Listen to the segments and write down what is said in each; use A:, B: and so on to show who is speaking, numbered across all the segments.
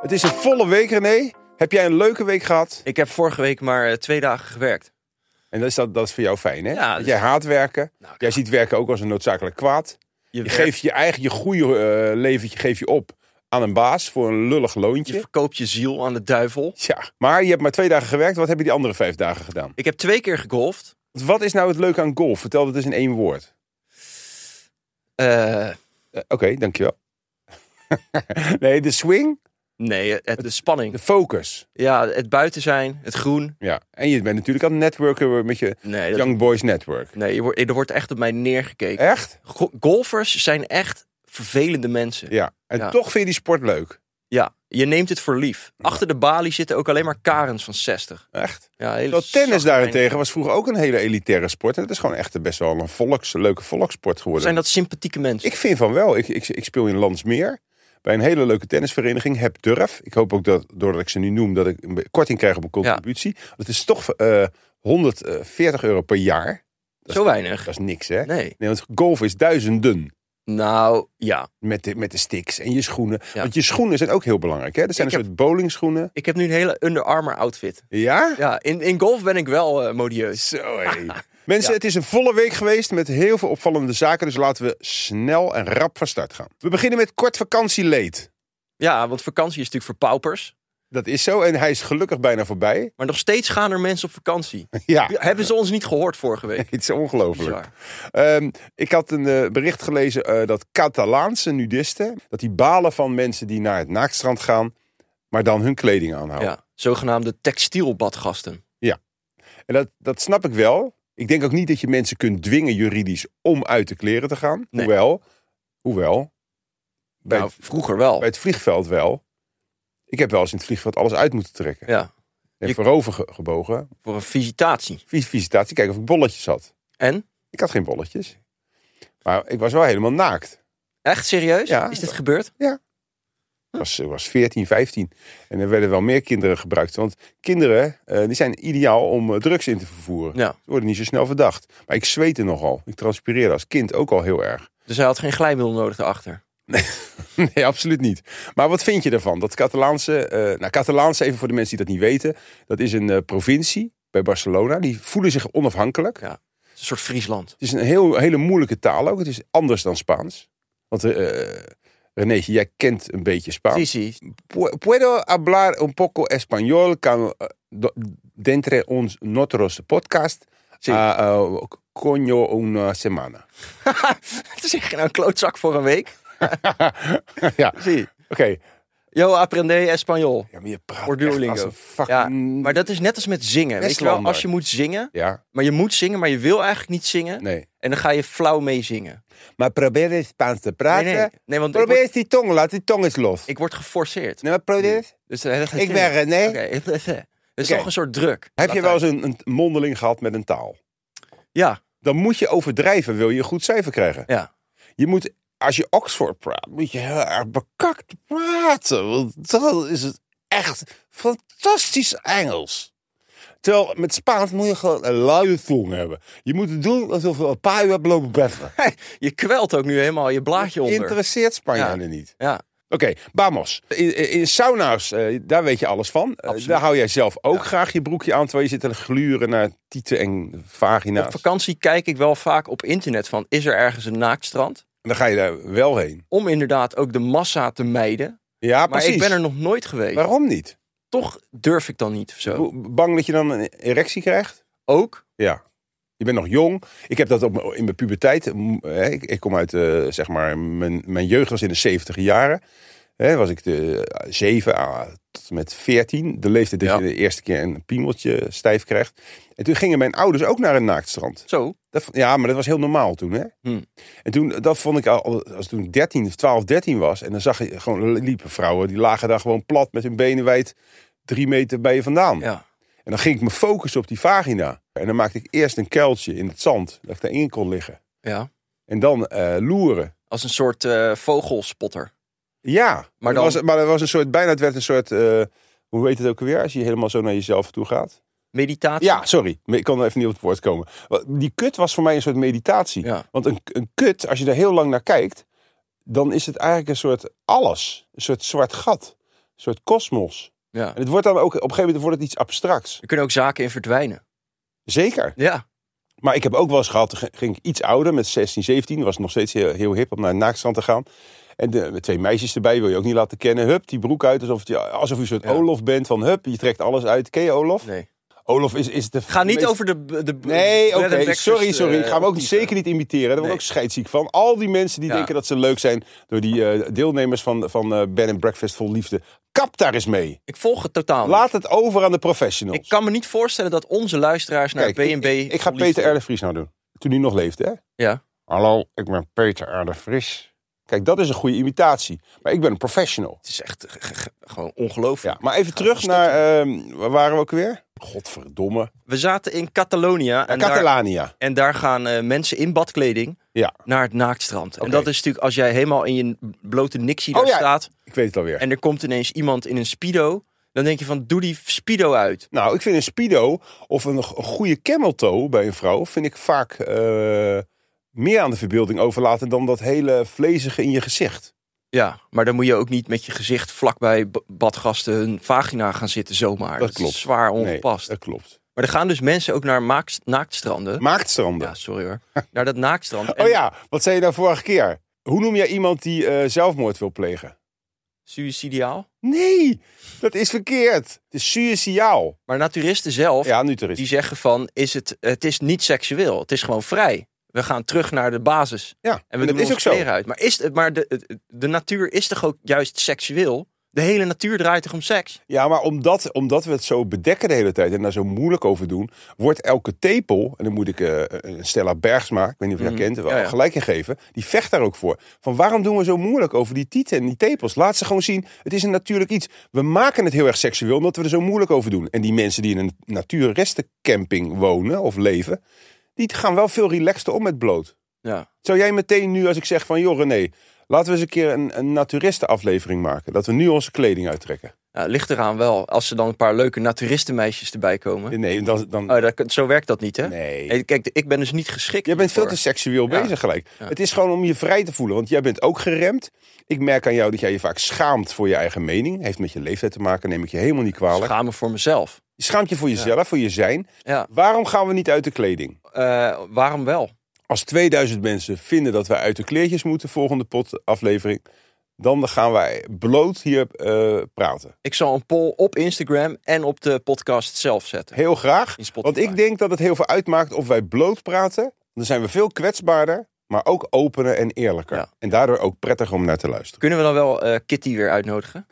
A: Het is een volle week, René. Heb jij een leuke week gehad?
B: Ik heb vorige week maar eh, twee dagen gewerkt.
A: En dat is, dat, dat is voor jou fijn, hè?
B: Ja,
A: Want
B: dus-
A: Jij haat werken.
B: Nou, ik
A: jij ziet werken ook als een noodzakelijk kwaad. Je
B: werkt,
A: geeft je eigen je goede eh, leventje geef je op aan een baas voor een lullig
B: je
A: loontje.
B: verkoopt je ziel aan de duivel.
A: Ja, maar je hebt maar twee dagen gewerkt. Wat heb je die andere vijf dagen gedaan?
B: Ik heb twee keer gegolfd.
A: Wat is nou het leuke aan golf? Vertel dat eens in één woord.
B: Eh,
A: Eh, Oké, dankjewel. nee, de swing,
B: nee, het, de
A: de
B: spanning.
A: focus.
B: Ja, het buiten zijn, het groen.
A: Ja, en je bent natuurlijk aan het netwerken met je
B: Nee, dat-
A: Young Boys Network.
B: nee je wordt, er wordt echt op mij neergekeken.
A: Echt?
B: Go- golfers zijn echt vervelende mensen.
A: Ja. En
B: Ja.
A: toch vind je die sport leuk.
B: Ja, je neemt het voor lief. Achter de balie zitten ook alleen maar karens van 60.
A: Echt.
B: Ja, hele
A: Terwijl tennis
B: zachte-
A: daarentegen was vroeger ook een hele elitaire sport. En het is gewoon echt best wel een volks, leuke volkssport geworden.
B: Zijn dat sympathieke mensen?
A: Ik vind van wel. Ik, ik, ik speel in Landsmeer. Bij een hele leuke tennisvereniging. Heb Durf. Ik hoop ook dat, doordat ik ze nu noem, dat ik een be- korting krijg op een contributie. Het is toch eh, 140 euro per jaar. Dat
B: Zo
A: is-
B: weinig.
A: Dat is niks, hè?
B: Nee.
A: Nee, want golf is duizenden
B: Nou, ja.
A: met de, met de sticks en je schoenen.
B: Ja.
A: Want je schoenen zijn ook heel belangrijk, hè? Dat zijn
B: Ik
A: een soort bowlingschoenen.
B: Ik heb nu een hele Under Armour outfit.
A: Ja?
B: Ja, in, in golf ben ik wel eh, modieus.
A: Zo, hé. Mensen,
B: Ja.
A: het is een volle week geweest met heel veel opvallende zaken. Dus laten we snel en rap van start gaan. We beginnen met kort vakantieleed.
B: Ja, want vakantie is natuurlijk voor paupers.
A: Dat is zo en hij is gelukkig bijna voorbij.
B: Maar nog steeds gaan er mensen op vakantie.
A: Ja,
B: Hebben ze ons niet gehoord vorige week?
A: het is ongelooflijk.
B: Bizar.
A: Ehm, ik had een eh, bericht gelezen eh, dat Catalaanse nudisten... dat die balen van mensen die naar het naaktstrand gaan... maar dan hun kleding aanhouden.
B: Ja, zogenaamde textielbadgasten.
A: En dat, dat snap ik wel. Ik denk ook niet dat je mensen kunt dwingen juridisch om uit de kleren te gaan.
B: Nee.
A: Hoewel, hoewel bij,
B: nou,
A: het,
B: vroeger wel.
A: bij het vliegveld wel. Ik heb wel eens in het vliegveld alles uit moeten trekken.
B: Ja,
A: en
B: je-
A: voorover ge- gebogen.
B: voor een visitatie.
A: Vis- Visitatie, kijken of ik bolletjes had.
B: En?
A: Ik had geen bolletjes. Maar ik was wel helemaal naakt.
B: Echt serieus?
A: Ja.
B: is dit gebeurd?
A: Ik was, ik was 14, 15. En er werden wel meer kinderen gebruikt. Want kinderen eh, die zijn ideaal om eh, drugs in te vervoeren.
B: Ja.
A: Ze worden niet zo snel verdacht. Maar ik zweette nogal. Ik transpireerde als kind ook al heel erg.
B: Dus hij had geen glijmiddel nodig daarachter.
A: Nee, absoluut niet. Maar wat vind je daarvan? Dat Catalaanse, eh nou Catalaanse even voor de mensen die dat niet weten, dat is een eh, provincie bij Barcelona. Die voelen zich onafhankelijk.
B: Ja. Het is Een soort Friesland.
A: Het is een heel, hele moeilijke taal ook. Het is anders dan Spaans. Want eh René, jij kent een beetje Spaans.
B: Zie, zie.
A: Pu- Puedo hablar un poco español can, eh, do- dentro ons notros podcast.
B: Sí.
A: Ah, eh, coño una semana.
B: Het is echt nou een klootzak voor een week.
A: ja, oké.
B: Zie. Yo aprende español.
A: Ja, maar je praat
B: Por
A: echt
B: Duolingo.
A: als een
B: Ja,
A: fucking...
B: maar dat is net als met zingen. Weet je wel,
A: Westlander.
B: als je moet zingen,
A: ja,
B: maar je moet zingen, maar je wil eigenlijk niet zingen.
A: nee.
B: En dan ga je flauw meezingen.
A: Maar probeer eens Spaans te praten.
B: Nee, nee. Nee, want ik
A: e probeer
B: word-
A: eens die tong, laat die tong eens los.
B: Ik word geforceerd.
A: nee, maar probeer eens.
B: Dus hij zegt,
A: Ik ben René.
B: Oké, dat is
A: Oké.
B: toch een soort druk.
A: Heb je wel eens een, een mondeling gehad met een taal?
B: Ja,
A: Dan moet je overdrijven, wil je een goed cijfer krijgen.
B: ja.
A: Je moet, als je Oxford praat, moet je heel erg bekakt praten. Want dan is het echt fantastisch Engels. Terwijl met Spaans moet je gewoon een luie tong hebben. Je moet het doen alsof je een paar uur hebt lopen beffen.
B: Je kwelt ook nu helemaal je blaadje onder.
A: Interesseert Spanjaarden niet.
B: Ja,
A: Oké, Bamos. In, in sauna's, eh, daar weet je alles van. Eh,
B: Absoluut.
A: daar hou jij zelf ook graag je broekje aan... terwijl je zit te gluren naar tieten en
B: op
A: vagina's. En
B: vakantie kijk ik wel vaak op internet van, is er ergens een naaktstrand?
A: dan ga je daar wel heen.
B: Om inderdaad ook de massa te mijden.
A: Ja,
B: Maar
A: precies.
B: ik ben er nog nooit geweest.
A: Waarom niet?
B: Toch durf ik dan niet of zo.
A: Hoe- Bang dat je dan een erectie krijgt?
B: Ook?
A: Ja. Je bent nog jong. Ik heb dat op, mijn- in mijn puberteit. mm, hè, Ik, ik kom uit, eh, zeg eh, maar, mijn, mijn jeugd was in de 70 jaren. Hè, was ik de 7 à tot ah, met 14. De leeftijd dat
B: Ja.
A: je de eerste keer een piemeltje stijf krijgt. En toen gingen mijn ouders ook naar een naaktstrand.
B: Zo.
A: Dat, v- ja, maar dat was heel normaal toen, hè?
B: Hmm.
A: En toen, dat vond ik al, als toen ik 13 of 12, 13 was. En dan zag je gewoon liepen vrouwen. Die lagen daar gewoon plat met hun benen wijd drie meter bij je vandaan.
B: Ja.
A: En dan ging ik me focussen op die vagina. En dan maakte ik eerst een kuiltje in het zand. Dat ik daarin kon liggen.
B: ja.
A: En dan eh, loeren.
B: Als een soort eh, vogelspotter.
A: Ja, maar,
B: dan-
A: dat was, maar dat was een soort, bijna het werd een soort, eh, hoe heet het ook weer, als je helemaal zo naar jezelf toe gaat.
B: Meditatie.
A: Ja, sorry, ik kon even niet op het woord komen. Wa- Die kut was voor mij een soort meditatie.
B: Ja.
A: Want een, een kut, als je er heel lang naar kijkt, dan is het eigenlijk een soort alles. Een soort zwart gat, een soort kosmos.
B: Ja.
A: En het wordt dan ook, op een gegeven moment wordt het iets abstracts.
B: Er kunnen ook zaken in verdwijnen.
A: Zeker.
B: Ja.
A: Maar ik heb ook wel eens gehad, toen ging ik iets ouder, met 16, 17. Was het nog steeds heel, heel hip om naar een naaktstrand te gaan. En de, met twee meisjes erbij wil je ook niet laten kennen. Hup, die broek uit, alsof, je alsof je een soort
B: Ja.
A: Olof bent. Van hup, je trekt alles uit. Ken je Olof?
B: Nee.
A: Olof is, is de...
B: Ga niet
A: meest-
B: over de... de
A: Nee,
B: bread
A: oké,
B: and breakfast,
A: sorry, sorry. Ik ga hem
B: eh,
A: ook
B: motieven.
A: zeker niet imiteren. Daar word ik
B: Nee.
A: ook scheidsziek van. Al die mensen die
B: Ja.
A: denken dat ze leuk zijn door die eh, deelnemers van, van eh Ben and Breakfast Vol Liefde. Kap daar eens mee.
B: Ik volg het totaal niet.
A: Laat het over aan de professionals.
B: Ik kan me niet voorstellen dat onze luisteraars naar
A: Kijk, ik-
B: BNB...
A: ik, ik ga
B: verliefd
A: Peter R. de Vries nou doen. Toen hij nog leefde, hè?
B: Ja.
A: Hallo, ik ben Peter R. de Vries. Kijk, dat is een goede imitatie. Maar ik ben een professional.
B: Het is echt g- g- g- gewoon ongelooflijk.
A: Ja, maar even terug naar... ehm, waar waren we ook weer? Godverdomme.
B: We zaten in Catalonia. en, daar,
A: Catalania.
B: en daar gaan eh, mensen in badkleding
A: Ja,
B: naar het naaktstrand. En
A: Oké.
B: dat is natuurlijk als jij helemaal in je blote niksie daar
A: Oh ja.
B: staat...
A: ik weet het alweer.
B: en er komt ineens iemand in een speedo... dan denk je van, doe die speedo uit.
A: Nou, ik vind een speedo of een go- een goede camel toe bij een vrouw... vind ik vaak eh, meer aan de verbeelding overlaten... dan dat hele vlezige in je gezicht.
B: Ja, maar dan moet je ook niet met je gezicht vlakbij b- badgasten hun vagina gaan zitten zomaar.
A: Dat
B: is
A: klopt.
B: zwaar
A: Nee,
B: ongepast.
A: dat klopt.
B: Maar er gaan dus mensen ook naar maakt, naaktstranden.
A: Maaktstranden.
B: Ja, sorry hoor. Naar dat naaktstrand.
A: Oh ja, wat zei je nou vorige keer? Hoe noem jij iemand die eh, zelfmoord wil plegen?
B: Suicidiaal.
A: Nee, dat is verkeerd. Het is suicidaal.
B: Maar naturisten zelf,
A: Ja, nu er
B: die
A: is.
B: zeggen van, is het, het is niet seksueel. Het is gewoon vrij. We gaan terug naar de basis.
A: Ja,
B: En we
A: dat
B: doen
A: is
B: onze
A: ook zo.
B: kleren uit. Maar, is het, maar de, de natuur is toch ook juist seksueel? De hele natuur draait toch om seks?
A: Ja, maar omdat, omdat we het zo bedekken de hele tijd en daar zo moeilijk over doen, wordt elke tepel, en dan moet ik eh, een Stella Bergsma, ik weet niet of je haar kent, wel
B: Mhm. ja, ja.
A: gelijk in geven, die vecht daar ook voor. Van waarom doen we zo moeilijk over die tieten en die tepels? Laat ze gewoon zien, het is een natuurlijk iets. We maken het heel erg seksueel omdat we er zo moeilijk over doen. En die mensen die in een natuurrestencamping wonen of leven, die gaan wel veel relaxter om met bloot.
B: Ja.
A: Zou jij meteen nu, als ik zeg van, joh René, laten we eens een keer een, een naturistenaflevering maken. Dat we nu onze kleding uittrekken.
B: Nou, ligt eraan wel. Als er dan een paar leuke naturistenmeisjes erbij komen.
A: Eh, Nee, dan... dan
B: Oh, dat, zo werkt dat niet, hè?
A: nee.
B: Hey, Kijk, ik ben dus niet geschikt.
A: Jij bent veel te
B: hiervoor.
A: seksueel
B: Ja.
A: bezig gelijk.
B: Ja.
A: Het is gewoon om je vrij te voelen, want jij bent ook geremd. Ik merk aan jou dat jij je vaak schaamt voor je eigen mening. Heeft met je leeftijd te maken, neem ik je helemaal niet kwalijk.
B: schamen voor mezelf.
A: Je schaamt je voor jezelf, voor je zijn.
B: Ja.
A: Waarom gaan we niet uit de kleding?
B: Eh, waarom wel?
A: Als 2000 mensen vinden dat wij uit de kleertjes moeten, volgende pot aflevering, dan gaan wij bloot hier eh, praten.
B: Ik zal een poll op Instagram en op de podcast zelf zetten.
A: Heel graag.
B: In Spotify.
A: Want ik denk dat het heel veel uitmaakt of wij bloot praten. Dan zijn we veel kwetsbaarder, maar ook opener en eerlijker.
B: Ja.
A: En daardoor ook prettiger om naar te luisteren.
B: Kunnen we dan wel eh, Kitty weer uitnodigen?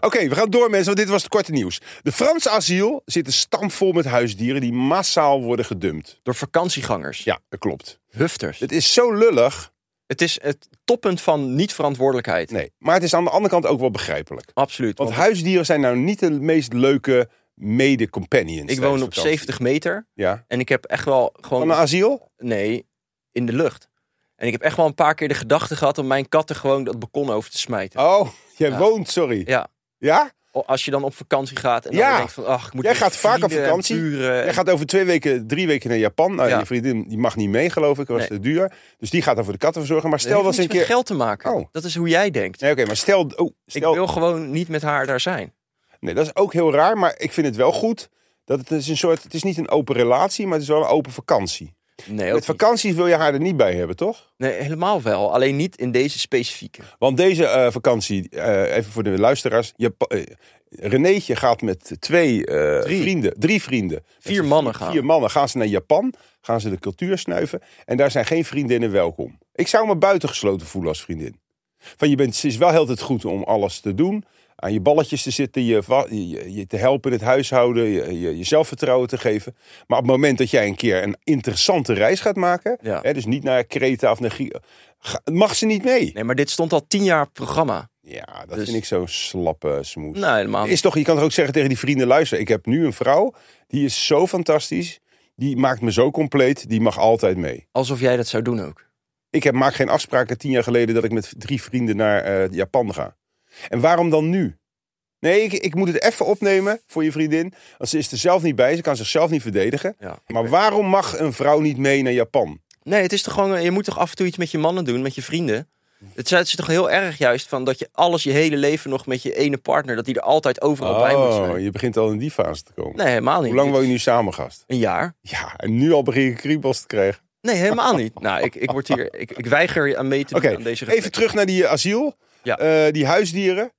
A: Oké, we gaan door mensen, want dit was het korte nieuws. De Franse asiel zit een stamp vol met huisdieren die massaal worden gedumpt.
B: Door vakantiegangers,
A: Ja, dat klopt.
B: hufters.
A: Het is zo lullig.
B: Het is het toppunt van niet-verantwoordelijkheid.
A: Nee, maar het is aan de andere kant ook wel begrijpelijk.
B: Absoluut.
A: Want
B: Want
A: huisdieren zijn nou niet de meest leuke mede-companions.
B: ik woon
A: tijdens
B: op
A: vakantie.
B: 70 meter
A: Ja.
B: en ik heb echt wel
A: Van
B: gewoon...
A: een asiel?
B: Nee, in de lucht. En ik heb echt wel een paar keer de gedachte gehad om mijn katten gewoon dat balkon over te smijten.
A: Oh, jij
B: Ja.
A: woont, sorry.
B: Ja,
A: Ja?
B: O- als je dan op vakantie gaat en dan
A: Ja.
B: denkt van, ach, ik moet
A: Jij
B: weer
A: gaat vaak op
B: vrienden en
A: vakantie.
B: buren en-
A: Jij gaat over twee weken, drie weken naar Japan. Nou,
B: Eh, Ja.
A: je vriendin die mag niet mee, geloof ik. Dat was
B: Nee.
A: te duur. Dus die gaat dan voor de katten verzorgen. Maar
B: Dat
A: stel dat
B: heeft
A: ze een
B: niks met
A: keer...
B: geld te maken.
A: Oh.
B: Dat is hoe jij denkt.
A: Nee, oké, maar stel... Oh, stel...
B: Ik wil gewoon niet met haar daar zijn.
A: Nee, dat is ook heel raar, maar ik vind het wel goed. Dat het is een soort, het is niet een open relatie, maar het is wel een open vakantie.
B: Nee, ook
A: Met vakanties wil je haar er niet bij hebben, toch?
B: niet. nee helemaal wel. Alleen niet in deze specifieke.
A: Want deze eh, vakantie, eh, even voor de luisteraars. Japa- eh, Renéetje gaat met twee eh,
B: Drie.
A: vrienden, drie vrienden. Met
B: Vier
A: z'n
B: mannen
A: vier-
B: gaan.
A: Vier mannen gaan ze naar Japan, gaan ze de cultuur snuiven. En daar zijn geen vriendinnen welkom. Ik zou me buitengesloten voelen als vriendin. Van je bent, het is wel heel het goed om alles te doen. Aan je balletjes te zitten, je, va- je, je te helpen in het huishouden, je, je, je zelfvertrouwen te geven. Maar op het moment dat jij een keer een interessante reis gaat maken,
B: Ja.
A: hè, dus niet naar Kreta of naar Griekenland, mag ze niet mee.
B: Nee, maar dit stond al tien jaar op het programma.
A: Ja, dat
B: Dus- Mm.
A: vind ik zo slappe smoes.
B: Nee, helemaal niet.
A: Is toch, je kan toch ook zeggen tegen die vrienden, luister, ik heb nu een vrouw, die is zo fantastisch, die maakt me zo compleet, die mag altijd mee.
B: Alsof jij dat zou doen ook.
A: Ik heb, maak geen afspraken tien jaar geleden dat ik met drie vrienden naar eh, Japan ga. En waarom dan nu? Nee, ik, ik moet het even opnemen voor je vriendin. Want ze is er zelf niet bij, ze kan zichzelf niet verdedigen.
B: Ja.
A: Maar waarom mag een vrouw niet mee naar Japan?
B: Nee, het is toch gewoon, eh, je moet toch af en toe iets met je mannen doen, met je vrienden. Het is- het is toch heel erg juist van dat je alles je hele leven nog met je ene partner, Oh, dat die er altijd overal bij moet zijn.
A: Oh, je begint al in die fase te komen.
B: Nee, helemaal niet.
A: Hoe lang
B: Dit
A: woon je
B: is
A: nu samen, gast?
B: Een jaar?
A: Ja, en nu al begin je kriebels te krijgen.
B: Nee, helemaal niet. Nou, ik, ik word hier, ik, ik weiger aan mee te doen
A: Oké,
B: aan deze
A: even
B: reflex.
A: terug naar die eh, asiel.
B: Ja.
A: Eh, die huisdieren.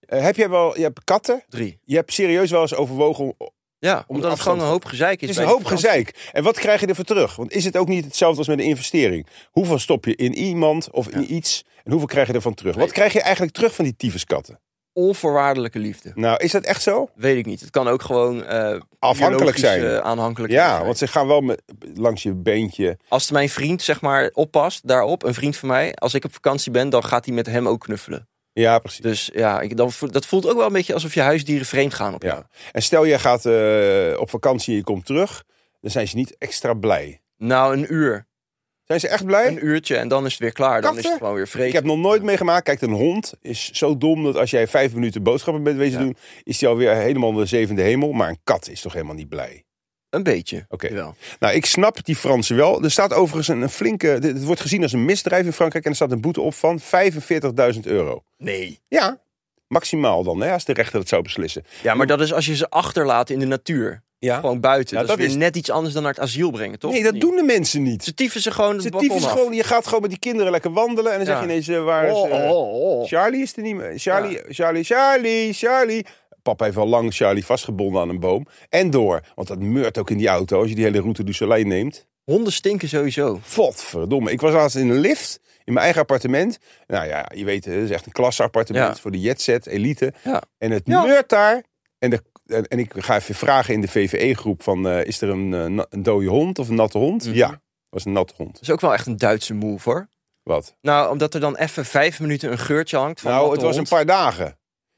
A: Eh, heb jij wel, je hebt katten.
B: Drie.
A: Je hebt serieus wel eens overwogen. om-
B: Ja,
A: de
B: omdat het gewoon
A: afstand-
B: een hoop gezeik is.
A: Het is
B: bij
A: een
B: de
A: hoop
B: vakantie.
A: gezeik. En wat krijg je ervoor terug? Want is het ook niet hetzelfde als met een investering? Hoeveel stop je in iemand of in iets? En hoeveel krijg je ervan terug? Wat
B: Nee.
A: krijg je eigenlijk terug van die tyfuskatten?
B: Onvoorwaardelijke liefde.
A: Nou, is dat echt zo?
B: Weet ik niet. Het kan ook gewoon eh,
A: Afhankelijk
B: biologisch,
A: zijn.
B: eh, aanhankelijk
A: Ja,
B: zijn.
A: want ze gaan wel met, langs je beentje.
B: Als mijn vriend zeg maar oppast daarop, een vriend van mij, als ik op vakantie ben, dan gaat hij met hem ook knuffelen.
A: Ja, precies.
B: Dus ja, ik, dan, vo- dat voelt ook wel een beetje alsof je huisdieren vreemd gaan op jou.
A: Ja. En stel, jij gaat eh, op vakantie en je komt terug. Dan zijn ze niet extra blij.
B: Nou, een uur.
A: Zijn ze echt blij?
B: Een uurtje en dan is het weer klaar. Dan is
A: Katten?
B: het gewoon weer
A: Ik
B: vreten.
A: heb nog nooit meegemaakt. Kijk, een hond is zo dom dat als jij vijf minuten boodschappen bent wezen
B: Ja.
A: doen, is die alweer helemaal in de zevende hemel. Maar een kat is toch helemaal niet blij.
B: Een beetje.
A: Oké.
B: Jawel.
A: Nou, ik snap die Fransen wel. Er staat overigens een, een flinke. dit- Het wordt gezien als een misdrijf in Frankrijk en er staat een boete op van 45.000 euro.
B: Nee.
A: Ja, maximaal dan, hè, als de rechter dat zou beslissen.
B: Ja, maar dat is als je ze achterlaat in de natuur.
A: Ja.
B: Gewoon buiten.
A: Ja,
B: dat,
A: dat
B: is weer
A: is-
B: net iets anders dan naar het asiel brengen, toch?
A: nee, dat doen de mensen niet.
B: Ze tiefen ze gewoon het
A: Ze
B: balkon
A: tyfus
B: af.
A: gewoon. Je gaat gewoon met die kinderen lekker wandelen en dan
B: Ja.
A: zeg je ineens eh, waar is.
B: Oh,
A: eh,
B: oh, oh.
A: Charlie is er niet meer. Charlie, Charlie, Charlie, Charlie. Papa heeft al lang Charlie vastgebonden aan een boom. En door. Want dat meurt ook in die auto als je die hele route du Soleil neemt.
B: Honden stinken sowieso.
A: Godverdomme. Ik was laatst in een lift in mijn eigen appartement. Nou ja, je weet, het is echt een klasseappartement
B: Ja.
A: voor de jetset, elite.
B: Ja.
A: En het
B: Ja.
A: meurt daar. En, de, en, en ik ga even vragen in de VVE-groep van... eh, is er een, eh, na- een dode hond of een natte hond?
B: Mhm.
A: Ja, was een natte hond.
B: Dat is ook wel echt een Duitse move, hoor.
A: Wat?
B: Nou, omdat er dan even vijf minuten een geurtje hangt van
A: nou,
B: natte
A: het was
B: hond. Ah,
A: een paar dagen.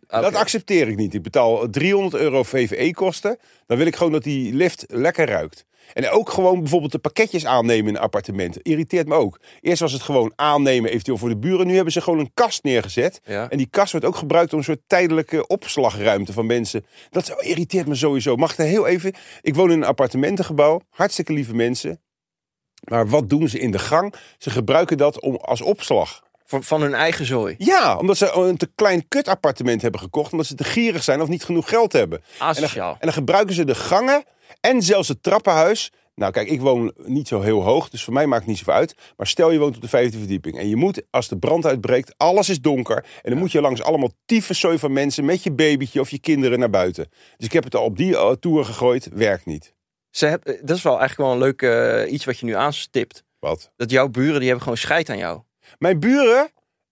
B: Oké.
A: Dat accepteer ik niet. Ik betaal 300 euro VVE-kosten. Dan wil ik gewoon dat die lift lekker ruikt. En ook gewoon bijvoorbeeld de pakketjes aannemen in appartementen. Irriteert me ook. Eerst was het gewoon aannemen, eventueel voor de buren. Nu hebben ze gewoon een kast neergezet.
B: Ja.
A: En die kast wordt ook gebruikt om een soort tijdelijke opslagruimte van mensen. Dat zo- irriteert me sowieso. Mag ik daar heel even... Ik woon in een appartementengebouw. Hartstikke lieve mensen. Maar wat doen ze in de gang? Ze gebruiken dat om, als opslag.
B: Van, van hun eigen zooi.
A: Ja, omdat ze een te klein kutappartement hebben gekocht. Omdat ze te gierig zijn of niet genoeg geld hebben. En dan,
B: Asociaal.
A: en dan gebruiken ze de gangen en zelfs het trappenhuis. Nou kijk, ik woon niet zo heel hoog, dus voor mij maakt het niet zoveel uit. Maar stel je woont op de vijfde verdieping. En je moet, als de brand uitbreekt, alles is donker. En dan moet je langs allemaal tyfuszooi van mensen met je babytje of je kinderen naar buiten. Dus ik heb het al op die eh, toer gegooid. Werkt niet.
B: Ze heb- eh, dat is wel eigenlijk wel een leuk eh, iets wat je nu aanstipt.
A: Wat?
B: Dat jouw buren, die hebben gewoon scheid aan jou.
A: Mijn buren,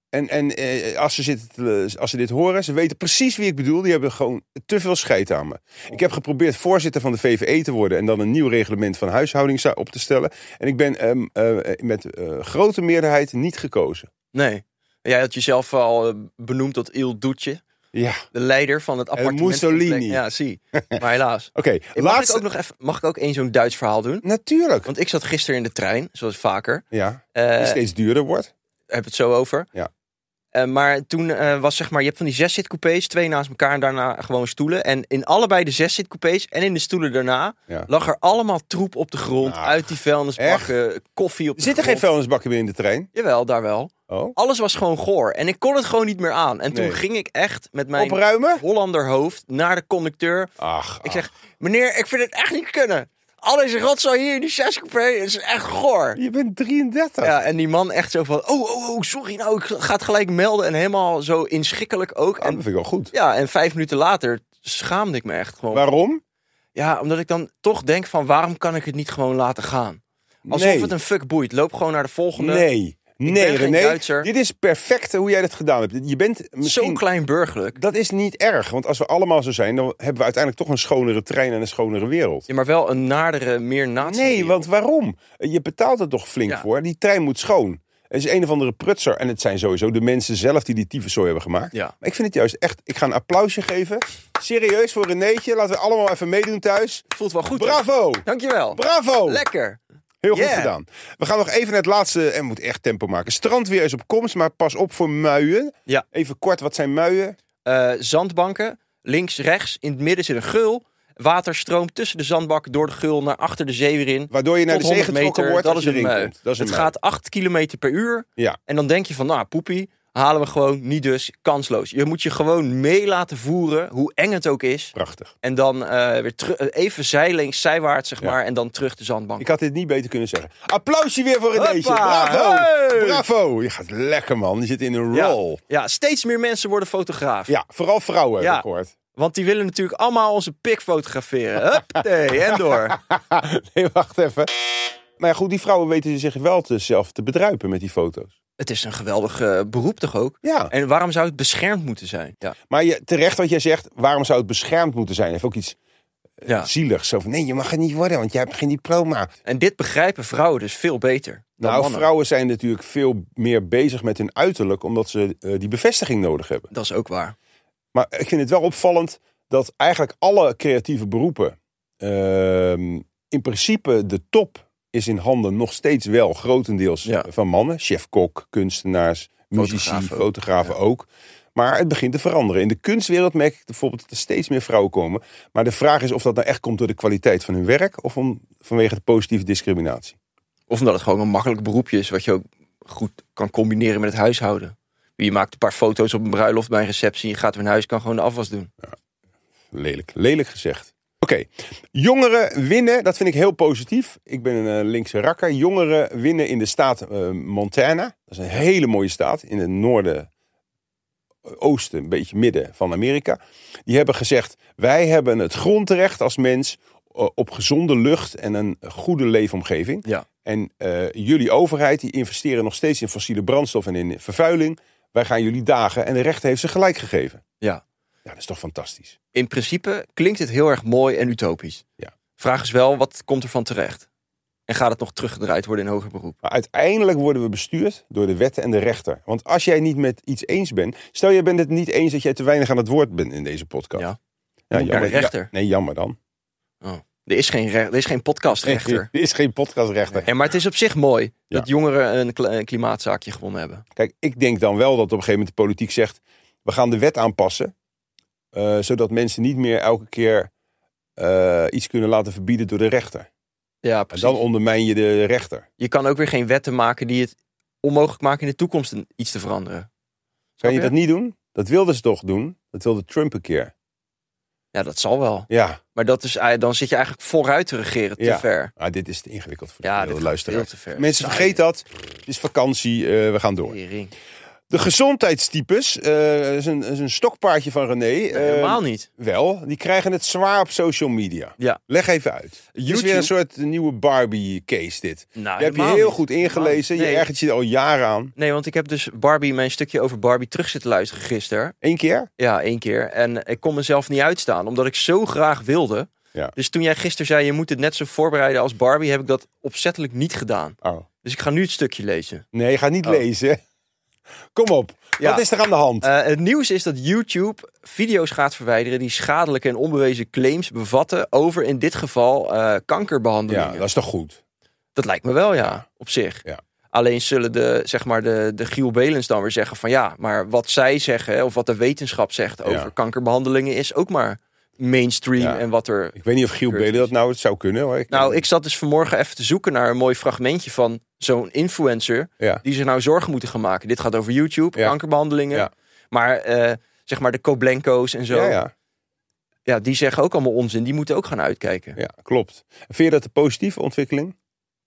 A: en, en eh, als, ze zitten, te- als ze dit horen, ze weten precies wie ik bedoel. Die hebben gewoon te veel scheid aan me. Ik heb geprobeerd voorzitter van de VVE te worden en dan een nieuw reglement van huishouding zou- op te stellen. En ik ben ehm, eh, met eh, grote meerderheid niet gekozen.
B: Nee. Jij had jezelf al eh, benoemd tot Il Doetje.
A: Ja,
B: De leider van het appartement.
A: Eh, Mussolini.
B: Ja, zie. Maar helaas.
A: oké.
B: Mag ik
A: Laatste.
B: ook nog even, mag ik ook één zo'n Duits verhaal doen?
A: Natuurlijk.
B: Want ik zat gisteren in de trein, zoals vaker.
A: Ja,
B: Eh,
A: die steeds duurder wordt.
B: heb het zo over.
A: Ja.
B: Eh, maar toen eh, was zeg maar, je hebt van die zes zitcoupés, twee naast elkaar en daarna gewoon stoelen. En in allebei de zes zitcoupés en in de stoelen daarna
A: Ja.
B: lag er allemaal troep op de grond,
A: Nou,
B: uit die vuilnisbakken, koffie op de
A: Zit er geen
B: grond.
A: vuilnisbakken meer in de trein?
B: Jawel, daar wel.
A: Oh.
B: Alles was gewoon goor en ik kon het gewoon niet meer aan. En toen
A: Nee.
B: ging ik echt met mijn
A: Opruimen?
B: Hollander hoofd naar de conducteur.
A: Ach,
B: Ik zeg, meneer, ik vind het echt niet kunnen. Al deze rotzooi hier in die zescoupé is echt goor.
A: ach, je bent 33.
B: Ja, en die man echt zo van, oh, oh, oh, sorry, nou, ik ga het gelijk melden. En helemaal zo inschikkelijk ook.
A: Ah, dat vind
B: En,
A: ik wel goed.
B: ja, en vijf minuten later schaamde ik me echt gewoon.
A: Waarom?
B: Ja, omdat ik dan toch denk van, waarom kan ik het niet gewoon laten gaan? Alsof
A: Nee.
B: het een fuck boeit. Loop gewoon naar de volgende.
A: Nee.
B: ben
A: Nee,
B: geen
A: René,
B: Duitser.
A: dit is perfect hoe jij dat gedaan hebt. Je bent
B: Zo'n
A: misschien...
B: klein burgerlijk.
A: Dat is niet erg, want als we allemaal zo zijn... dan hebben we uiteindelijk toch een schonere trein en een schonere wereld.
B: Ja, maar wel een naardere, meer nazi.
A: Nee, want waarom? Je betaalt er toch flink
B: Ja.
A: voor? Die trein moet schoon. Het is een of andere prutser. En het zijn sowieso de mensen zelf die die tyfuszooi hebben gemaakt.
B: Ja.
A: Maar ik vind het juist echt... Ik ga een applausje geven. Serieus voor Renéetje. Laten we allemaal even meedoen thuis.
B: voelt wel goed. hè?
A: Bravo!
B: Dankjewel.
A: Bravo!
B: Lekker.
A: Heel goed
B: Yeah.
A: gedaan. We gaan nog even naar het laatste. En we moeten echt tempo maken. Strandweer is op komst, maar pas op voor muien.
B: Ja.
A: Even kort, wat zijn muien?
B: Eh, zandbanken, links, rechts, in het midden zit een geul. Water stroomt tussen de zandbak door de geul naar achter de zee weer in.
A: Waardoor je naar
B: Tot
A: de zee
B: 100
A: getrokken
B: meter,
A: wordt
B: dat
A: als je
B: is een
A: erin
B: mui.
A: komt. Dat is een
B: Het
A: mui.
B: gaat 8 km per uur.
A: Ja.
B: En dan denk je van, nou poepie, halen we gewoon niet dus, kansloos. Je moet je gewoon mee laten voeren, hoe eng het ook is.
A: Prachtig.
B: En dan eh, weer teru- eh, even zijlings, zijwaarts zeg maar, en dan terug de zandbank.
A: Ik had dit niet beter kunnen zeggen. Applausje weer voor Renéetje.
B: Hoppa.
A: Bravo.
B: Hey.
A: Bravo. Je gaat lekker, man. Je zit in een
B: ja.
A: roll. Ja,
B: ja, steeds meer mensen worden fotograaf.
A: vooral vrouwen heb
B: Ja.
A: ik gehoord.
B: Want die willen natuurlijk allemaal onze pik fotograferen. Huppatee, en door.
A: nee, wacht even. Maar Nou ja, goed, die vrouwen weten zich wel te, zelf te bedruipen met die foto's.
B: Het is een geweldig eh, beroep toch ook?
A: Ja.
B: En waarom zou het beschermd moeten zijn? Ja.
A: Maar je, terecht wat jij zegt, waarom zou het beschermd moeten zijn? Heeft ook iets
B: ja.
A: zieligs. Zo van, nee, je mag het niet worden, want jij hebt geen diploma.
B: En dit begrijpen vrouwen dus veel beter dan
A: Nou,
B: mannen.
A: vrouwen zijn natuurlijk veel meer bezig met hun uiterlijk, omdat ze eh, die bevestiging nodig hebben.
B: Dat is ook waar.
A: Maar ik vind het wel opvallend dat eigenlijk alle creatieve beroepen, ehm, in principe de top is in handen nog steeds wel grotendeels
B: Ja.
A: van mannen. Chef-kok, kunstenaars, muzici,
B: Fotografen ook.
A: fotografen ook. Maar het begint te veranderen. In de kunstwereld merk ik bijvoorbeeld dat er steeds meer vrouwen komen. Maar de vraag is of dat nou echt komt door de kwaliteit van hun werk of om, vanwege de positieve discriminatie.
B: Of omdat het gewoon een makkelijk beroepje is, wat je ook goed kan combineren met het huishouden. Je maakt een paar foto's op een bruiloft bij een receptie. Je gaat weer naar huis, kan gewoon de afwas doen.
A: Lelijk, lelijk gezegd. Oké, jongeren winnen, dat vind ik heel positief. Ik ben een eh, linkse rakker. Jongeren winnen in de staat eh, Montana. Dat is een hele mooie staat in het noorden, eh, oosten, een beetje midden van Amerika. Die hebben gezegd, wij hebben het grondrecht als mens eh, op gezonde lucht en een goede leefomgeving.
B: Ja.
A: En eh, jullie overheid, die investeren nog steeds in fossiele brandstof en in vervuiling. Wij gaan jullie dagen en de rechter heeft ze gelijk gegeven.
B: Ja.
A: Ja, dat is toch fantastisch.
B: In principe klinkt het heel erg mooi en utopisch.
A: Ja.
B: Vraag is wel, wat komt er van terecht? En gaat het nog teruggedraaid worden in hoger beroep?
A: Maar uiteindelijk worden we bestuurd door de wetten en de rechter. Want als jij niet met iets eens bent. Stel, jij bent het niet eens dat jij te weinig aan het woord bent in deze podcast.
B: Ja.
A: Ja,
B: Moet naar de rechter.
A: ja, nee, jammer dan.
B: Er is geen, re- er is geen podcastrechter.
A: Er is geen podcastrechter.
B: En maar het is op zich mooi
A: Ja.
B: dat jongeren een kle- een klimaatzaakje gewonnen hebben.
A: Kijk, ik denk dan wel dat op een gegeven moment de politiek zegt. We gaan de wet aanpassen. eh, zodat mensen niet meer elke keer eh, iets kunnen laten verbieden door de rechter.
B: Ja,
A: En
B: precies.
A: dan ondermijn je de rechter.
B: Je kan ook weer geen wetten maken die het onmogelijk maken in de toekomst een- iets te veranderen. Snap
A: Kan je dat niet doen? Dat wilden ze toch doen? Dat wilde Trump een keer.
B: Ja, dat zal wel.
A: Ja,
B: Maar dat is, ei- dan zit je eigenlijk vooruit te regeren, te
A: Ja.
B: ver.
A: ah, dit is te ingewikkeld voor de
B: Ja,
A: gemiddelde
B: dat
A: luisteraar.
B: veel te ver.
A: Mensen, vergeet dat. Het is vakantie, eh, we gaan door.
B: Tering.
A: De gezondheidstypes, eh is, een, is een stokpaardje van René. eh,
B: Helemaal niet.
A: Wel, die krijgen het zwaar op social media.
B: Ja.
A: Leg even uit. Het is
B: YouTube.
A: weer een soort nieuwe Barbie-case dit.
B: Nou,
A: je hebt je
B: helemaal
A: heel
B: niet.
A: goed ingelezen.
B: Helemaal
A: Je
B: niet.
A: ergert je er al jaren aan.
B: Nee, want ik heb dus Barbie, mijn stukje over Barbie terug zitten luisteren gisteren.
A: Eén keer?
B: Ja, één keer. En ik kon mezelf niet uitstaan, omdat ik zo graag wilde.
A: Ja.
B: Dus toen jij gisteren zei, je moet het net zo voorbereiden als Barbie, heb ik dat opzettelijk niet gedaan.
A: Oh.
B: Dus ik ga nu het stukje lezen.
A: Nee, je gaat niet
B: Oh.
A: lezen. Kom op.
B: Ja.
A: Wat is er aan de hand?
B: Eh, het nieuws is dat YouTube video's gaat verwijderen die schadelijke en onbewezen claims bevatten over in dit geval eh, kankerbehandelingen.
A: ja, dat is toch goed?
B: Dat lijkt me wel, ja, op zich.
A: Ja.
B: Alleen zullen de, zeg maar de, de Giel Belens dan weer zeggen van ja, maar wat zij zeggen of wat de wetenschap zegt over
A: Ja.
B: kankerbehandelingen is ook maar mainstream
A: Ja.
B: en wat er...
A: Ik weet niet of Giel
B: Keurig.
A: Belen dat nou het zou kunnen. Hoor.
B: Nou, ik zat dus vanmorgen even te zoeken naar een mooi fragmentje van zo'n influencer
A: Ja.
B: die zich nou zorgen moeten gaan maken. Dit gaat over YouTube,
A: Ja.
B: kankerbehandelingen,
A: Ja.
B: maar eh, zeg maar de Koblenko's en zo.
A: Ja, ja.
B: ja, die zeggen ook allemaal onzin. Die moeten ook gaan uitkijken.
A: ja, klopt. Vind je dat een positieve ontwikkeling?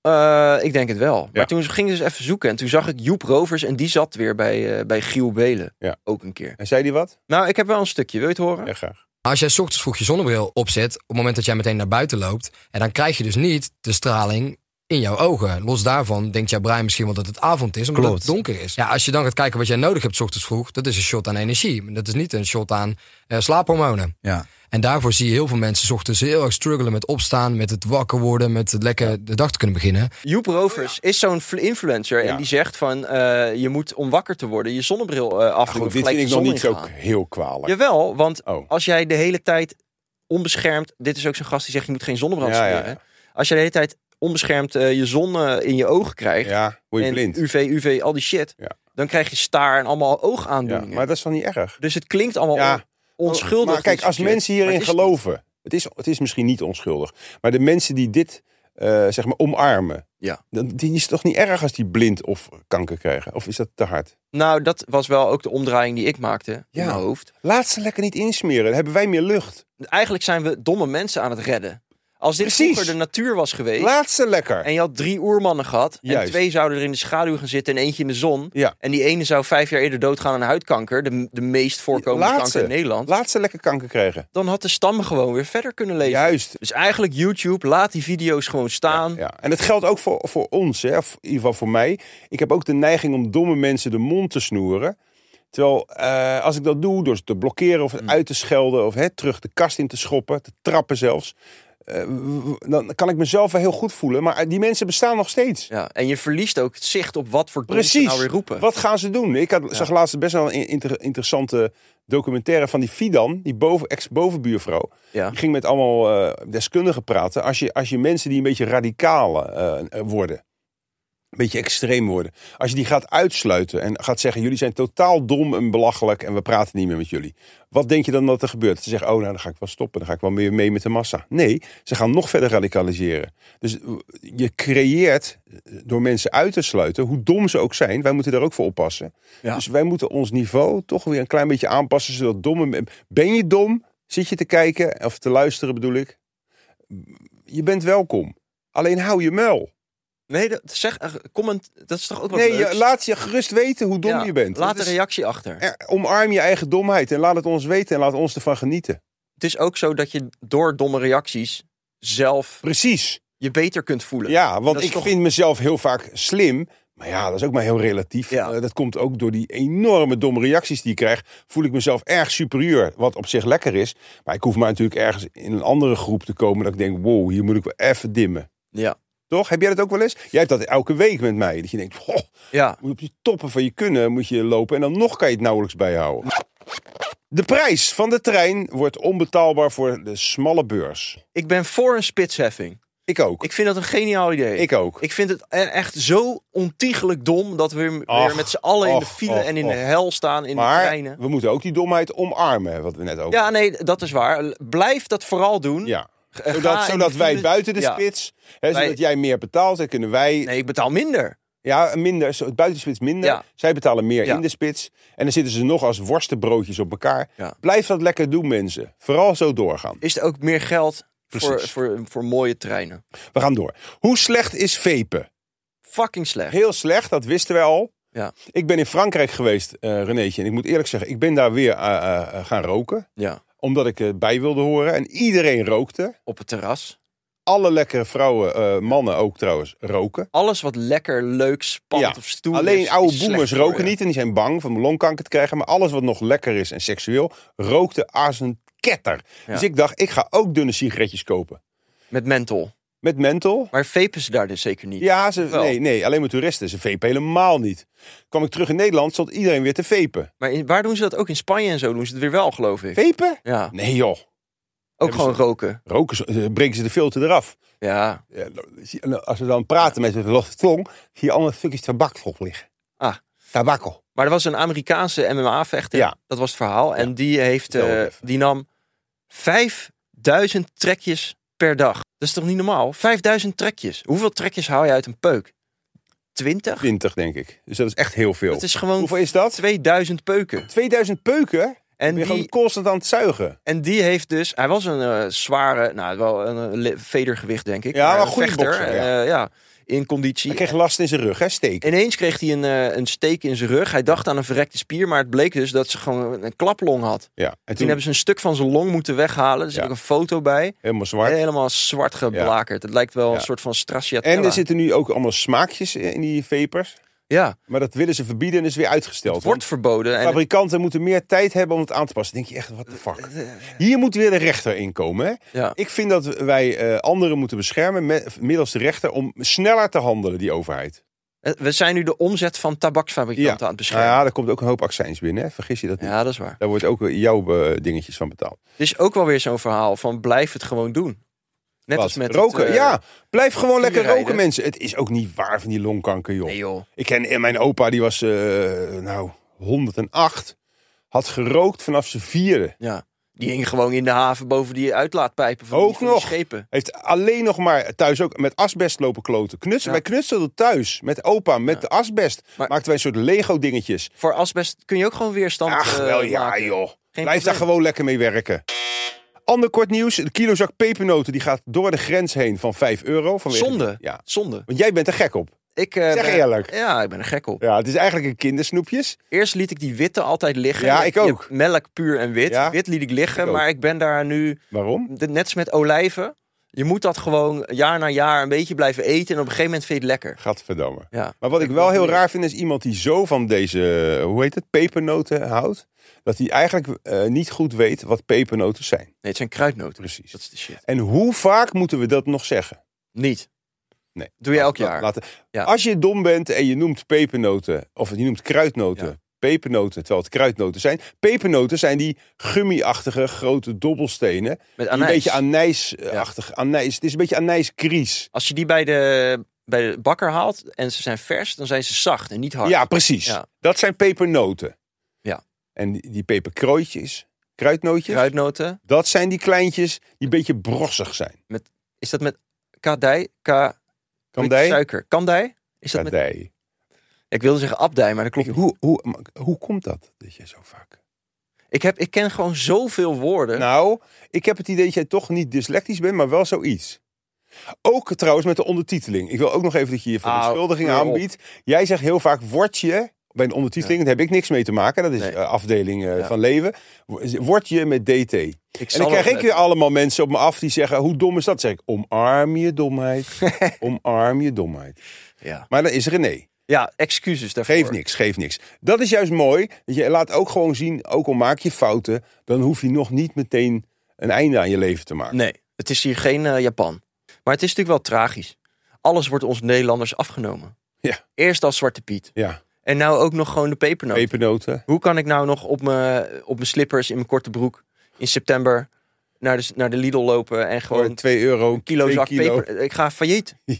B: Eh, ik denk het wel. Maar toen ging ik dus even zoeken. En toen zag ik Joep Rovers. En die zat weer bij, eh, bij Giel Belen.
A: Ja.
B: Ook een keer.
A: En zei die wat?
B: Nou, ik heb wel een stukje. Wil je het horen?
A: Ja, graag.
C: Als jij 's ochtends vroeg je zonnebril opzet, op het moment dat jij meteen naar buiten loopt, en dan krijg je dus niet de straling in jouw ogen. Los daarvan denkt jij brein misschien wel dat het avond is, omdat
D: Klopt.
C: het donker is. Ja, als je dan gaat kijken wat jij nodig hebt 's ochtends vroeg, dat is een shot aan energie. Dat is niet een shot aan eh, slaaphormonen.
D: Ja.
C: En daarvoor zie je heel veel mensen 's ochtends heel erg struggelen met opstaan, met het wakker worden, met het lekker de dag te kunnen beginnen.
B: Joep Rovers is zo'n fl- influencer
A: Ja.
B: en die zegt van eh, je moet om wakker te worden je zonnebril eh af
A: Maar
B: doen
A: goed,
B: of
A: dit
B: gelijk
A: vind ik
B: de
A: nog
B: zon
A: niet zo
B: ingaan.
A: heel kwalijk.
B: Jawel, want
A: Oh.
B: als jij de hele tijd onbeschermd, dit is ook zo'n gast die zegt je moet geen zonnebrand
A: Ja, ja.
B: smeren. Als jij de hele tijd onbeschermd eh, je zon eh, in je ogen krijgt
A: Ja, word je
B: en
A: blind.
B: UV, UV, al die shit,
A: Ja.
B: dan krijg je staar en allemaal
A: Ja,
B: oogaandoeningen.
A: maar dat is dan niet erg.
B: Dus het klinkt allemaal
A: Ja.
B: on- onschuldig.
A: Maar kijk,
B: dit
A: als
B: soort shit.
A: mensen
B: Maar
A: hierin
B: het is-
A: geloven, het is, het is misschien niet onschuldig, maar de mensen die dit eh, zeg maar omarmen,
B: Ja.
A: dan, die is het toch niet erg als die blind of kanker krijgen? Of is dat te hard?
B: Nou, dat was wel ook de omdraaiing die ik maakte
A: Ja.
B: in mijn hoofd.
A: Laat ze lekker niet insmeren, dan hebben wij meer lucht.
B: Eigenlijk zijn we domme mensen aan het redden. Als dit
A: Precies.
B: vroeger de natuur was geweest
A: Laat ze lekker.
B: en je had drie oermannen gehad en
A: Juist.
B: twee zouden er in de schaduw gaan zitten en eentje in de zon.
A: Ja.
B: En die ene zou vijf jaar eerder doodgaan aan huidkanker, de, de meest voorkomende
A: Laat
B: kanker
A: ze.
B: in Nederland.
A: Laat ze lekker kanker krijgen.
B: Dan had de stam gewoon weer verder kunnen leven.
A: Juist.
B: Dus eigenlijk YouTube, laat die video's gewoon staan.
A: Ja. En dat geldt ook voor, voor ons, hè. of in ieder geval voor mij. Ik heb ook de neiging om domme mensen de mond te snoeren. Terwijl eh, als ik dat doe, door ze te blokkeren of
B: Hmm.
A: uit te schelden... of hè, terug de kast in te schoppen, te trappen zelfs... eh, w- dan kan ik mezelf wel heel goed voelen. Maar eh, die mensen bestaan nog steeds.
B: Ja, En je verliest ook het zicht op wat voor dons ze
A: Precies.
B: nou weer roepen.
A: Wat gaan ze doen? Ik had, zag laatst best wel een in- inter- interessante documentaire van die Fidan, die boven, ex-bovenbuurvrouw.
B: Ja.
A: Die ging met allemaal eh, deskundigen praten. Als je, als je mensen die een beetje radicaal eh, worden, een beetje extreem worden, als je die gaat uitsluiten en gaat zeggen: jullie zijn totaal dom en belachelijk en we praten niet meer met jullie. Wat denk je dan dat er gebeurt? Ze zeggen: oh, nou dan ga ik wel stoppen, dan ga ik wel meer mee met de massa. Nee, ze gaan nog verder radicaliseren. Dus eh, je creëert eh, door mensen uit te sluiten, hoe dom ze ook zijn, wij moeten daar ook voor oppassen. Dus wij moeten ons niveau toch weer een klein beetje aanpassen, zodat domme men- Ben je dom? Zit je te kijken of te luisteren bedoel ik? Je bent welkom. Alleen hou je muil.
B: Nee, dat, zeg, eh, comment, dat is toch ook wat
A: Nee,
B: leuks?
A: je, laat je gerust weten hoe dom
B: Ja,
A: je bent.
B: Laat
A: Dat
B: een
A: is-
B: reactie achter.
A: eh, Omarm je eigen domheid en laat het ons weten en laat ons ervan genieten.
B: Het is ook zo dat je door domme reacties zelf
A: Precies.
B: je beter kunt voelen.
A: Ja,
B: Dat
A: want
B: is
A: ik
B: toch-
A: vind mezelf heel vaak slim. Maar ja, dat is ook maar heel relatief.
B: Ja.
A: Eh, dat komt ook door die enorme domme reacties die ik krijg. Voel ik mezelf erg superieur, wat op zich lekker is. Maar ik hoef maar natuurlijk ergens in een andere groep te komen... dat ik denk, wow, hier moet ik wel even dimmen.
B: Ja.
A: Toch? Heb jij dat ook wel eens? Jij hebt dat elke week met mij. Dat je denkt, goh,
B: ja.
A: moet op die toppen van je kunnen moet je lopen... en dan nog kan je het nauwelijks bijhouden. De prijs van de trein wordt onbetaalbaar voor de smalle beurs.
B: Ik ben voor een spitsheffing.
A: Ik ook.
B: Ik vind dat een geniaal idee.
A: Ik ook.
B: Ik vind het e- echt zo ontiegelijk dom dat we weer
A: Ach,
B: met z'n allen in de
A: och,
B: file
A: och,
B: en in de
A: och.
B: hel staan in de
A: Maar
B: treinen.
A: we moeten ook die domheid omarmen, wat we net ook.
B: Ja, nee, dat is waar. Blijf dat vooral doen.
A: Ja.
B: Ga
A: Zodat,
B: in de
A: zodat wij
B: file-
A: buiten de
B: Ja.
A: spits, hè,
B: Wij-
A: zodat jij meer betaalt, dan kunnen wij
B: Nee, ik betaal minder.
A: ja, minder, zo- buiten de spits minder.
B: Ja.
A: Zij betalen meer
B: Ja.
A: in de spits. En dan zitten ze nog als worstenbroodjes op elkaar.
B: Ja.
A: Blijf dat lekker doen, mensen. Vooral zo doorgaan.
B: Is er ook meer geld voor,
A: Precies.
B: voor, voor mooie treinen?
A: We gaan door. Hoe slecht is vapen?
B: Fucking slecht.
A: Heel slecht, dat wisten wij al.
B: Ja.
A: Ik ben in Frankrijk geweest, eh Renéetje. En ik moet eerlijk zeggen, ik ben daar weer eh, eh, eh, gaan roken.
B: Ja.
A: Omdat ik erbij wilde horen. En iedereen rookte.
B: Op het terras.
A: alle lekkere vrouwen, eh, mannen ook trouwens, roken.
B: Alles wat lekker, leuk, spannend of stoer is,
A: Alleen
B: is
A: oude
B: slecht
A: boomers
B: voor je.
A: roken niet en die zijn bang van longkanker te krijgen. Maar alles wat nog lekker is en seksueel, rookte als een ketter.
B: Ja.
A: Dus ik dacht, ik ga ook dunne sigaretjes kopen.
B: Met menthol.
A: Met menthol.
B: Maar vapen ze daar dus zeker niet.
A: Ja, ze,
B: Wel.
A: nee, nee, alleen maar toeristen. Ze vapen helemaal niet. Kwam ik terug in Nederland, stond iedereen weer te vapen.
B: Maar in- waar doen ze dat ook? In Spanje en zo doen ze het weer wel, geloof ik.
A: Vapen?
B: Ja,
A: Nee joh,
B: ook
A: Hebben
B: gewoon roken.
A: roken, ze- eh, brengen ze de filter eraf.
B: Ja.
A: Ja, nou, zie- en Als we dan praten met de losse tong, zie je allemaal stukjes tabak erop liggen.
B: Ah.
A: Tabakkel.
B: Maar er was een Amerikaanse MMA-vechter,
A: Ja.
B: dat was het verhaal. En die, heeft,
A: Vertel
B: eh,
A: het even.
B: die nam 5000 trekjes per dag. Dat is toch niet normaal? 5000 trekjes. Hoeveel trekjes haal je uit een peuk? 20?
A: 20 denk ik. Dus dat is echt heel veel.
B: Dat is gewoon
A: Hoeveel is dat?
B: 2000 peuken.
A: 2000 peuken?
B: En
A: En je
B: die,
A: gewoon constant aan het zuigen.
B: En die heeft dus, hij was een eh, zware, nou wel een eh, le- vedergewicht denk ik.
A: Ja,
B: maar
A: maar
B: een
A: goede
B: vechter.
A: bokser,
B: eh, ja. in conditie.
A: Hij kreeg last in zijn rug, hè? Steken.
B: Ineens kreeg hij een, eh, een steek in zijn rug. Hij dacht aan een verrekte spier, maar het bleek dus dat ze gewoon een klaplong had. Toen,
A: Ja. En toen,
B: hebben ze een stuk van zijn long moeten weghalen. Er zit
A: Ja.
B: ook een foto bij.
A: helemaal zwart.
B: Helemaal zwart geblakerd. Het lijkt wel
A: Ja.
B: een soort van stracciatella.
A: En er zitten nu ook allemaal smaakjes eh, in die vapers.
B: Ja,
A: Maar dat willen ze verbieden en is weer uitgesteld.
B: wordt verboden. En Eh,
A: Fabrikanten moeten meer tijd hebben om het aan te passen. Dan denk je echt, wat de fuck. Hier moet weer de rechter inkomen. Hè?
B: Ja.
A: Ik vind dat wij eh, anderen moeten beschermen met, middels de rechter om sneller te handelen, die overheid.
B: eh, we zijn nu de omzet van tabaksfabrikanten aan het beschermen.
A: Nou ja, er komt ook een hoop accijns binnen. Hè? Vergis je dat niet.
B: Ja, dat is waar.
A: Daar wordt ook eh, jouw eh, dingetjes van betaald.
B: Het is ook wel weer zo'n verhaal van blijf het gewoon doen. Net als
A: Wat?
B: met het,
A: roken.
B: eh,
A: ja, blijf gewoon lekker
B: vuurrijden.
A: roken, mensen. Het is ook niet waar van die longkanker, joh.
B: Nee joh.
A: Ik ken en mijn opa, die was eh, nou 108. Had gerookt vanaf zijn vierde.
B: Ja. Die hing gewoon in de haven boven die uitlaatpijpen van, die-
A: Ook
B: van die
A: nog.
B: schepen.
A: Heeft alleen nog maar thuis ook met asbest lopen kloten. Knutselen.
B: Ja.
A: Wij knutselden thuis met opa, met de asbest.
B: Maar-
A: Maakten wij een soort Lego dingetjes.
B: Voor asbest kun je ook gewoon weerstand
A: Ach,
B: eh,
A: wel ja
B: maken.
A: joh. Blijf
B: probleem.
A: daar gewoon lekker mee werken. Ander kort nieuws. De kilozak pepernoten die gaat door de grens heen van 5 euro. Vanwege...
B: Zonde.
A: Ja.
B: Zonde.
A: Want jij bent er gek op.
B: Ik, eh,
A: Zeg
B: ben-
A: eerlijk.
B: Ja, ik ben er gek op.
A: Ja, het is eigenlijk een kindersnoepjes.
B: Eerst liet ik die witte altijd liggen.
A: Ja,
B: Je-
A: ik
B: je
A: ook.
B: hebt Melk puur en wit.
A: Ja.
B: Wit liet ik liggen,
A: Ik ook.
B: maar ik ben daar nu...
A: Waarom?
B: de- Net als met olijven. Je moet dat gewoon jaar na jaar een beetje blijven eten. En op een gegeven moment vind je het lekker.
A: Gadverdamme.
B: Ja.
A: Maar wat ik wel heel raar vind is iemand die zo van deze, eh, hoe heet het, pepernoten houdt. Dat hij eigenlijk eh, niet goed weet wat pepernoten zijn.
B: Nee, het zijn kruidnoten.
A: Precies.
B: Dat is de shit.
A: En hoe vaak moeten we dat nog zeggen?
B: Niet.
A: Nee.
B: Doe je elk
A: Laat-
B: jaar.
A: laten-
B: Ja.
A: Als je dom bent en je noemt pepernoten, of je noemt kruidnoten,
B: Ja.
A: pepernoten, terwijl het kruidnoten zijn. Pepernoten zijn die gummiachtige grote dobbelstenen.
B: Met
A: Die een
B: anijs.
A: beetje anijsachtig, anijs. Het is een beetje anijskries.
B: Als je die bij de, bij de bakker haalt en ze zijn vers, dan zijn ze zacht en niet hard.
A: Ja, precies.
B: Ja.
A: Dat zijn pepernoten.
B: Ja.
A: En die, die peperkrootjes, kruidnootjes,
B: Kruidnoten.
A: dat zijn die kleintjes die een beetje brossig zijn.
B: Is dat met kadij? Ka,
A: Kandij?
B: Suiker. Kandij? Is dat met,
A: Kandij.
B: ik wilde zeggen abdij, maar dat klopt.
A: Ik- Hoe, hoe, maar hoe komt dat, dat jij zo vaak...
B: Ik, heb, ik ken gewoon zoveel woorden.
A: Nou, ik heb het idee dat jij toch niet dyslectisch bent, maar wel zoiets. Ook trouwens met de ondertiteling. Ik wil ook nog even dat je je
B: Au,
A: verontschuldiging
B: hou Ah, op.
A: aanbiedt. Jij zegt heel vaak word je bij een ondertiteling. Daar heb ik niks mee te maken. Dat is
B: Nee.
A: eh, afdeling eh,
B: Ja.
A: van leven. Word je met DT. en
B: zal
A: dan krijg
B: wel
A: ik weer allemaal mensen op me af die zeggen: hoe dom is dat? Dan zeg ik: omarm je domheid. omarm je domheid.
B: Ja.
A: Maar dan is René.
B: ja, excuses daarvoor.
A: Geef niks, geef niks. Dat is juist mooi. Dat je laat ook gewoon zien, ook al maak je fouten, dan hoef je nog niet meteen een einde aan je leven te maken.
B: Nee, het is hier geen eh, Japan. Maar het is natuurlijk wel tragisch. Alles wordt ons Nederlanders afgenomen.
A: Ja.
B: Eerst al Zwarte Piet.
A: Ja,
B: En nou ook nog gewoon de pepernoot.
A: pepernoten.
B: Hoe kan ik nou nog op mijn op mijn slippers in mijn korte broek in september naar de, naar de Lidl lopen en gewoon
A: Gewoon
B: een
A: 2 euro, een
B: kilo zak
A: Oh, kilo.
B: peper? Ik ga failliet.
A: Ja.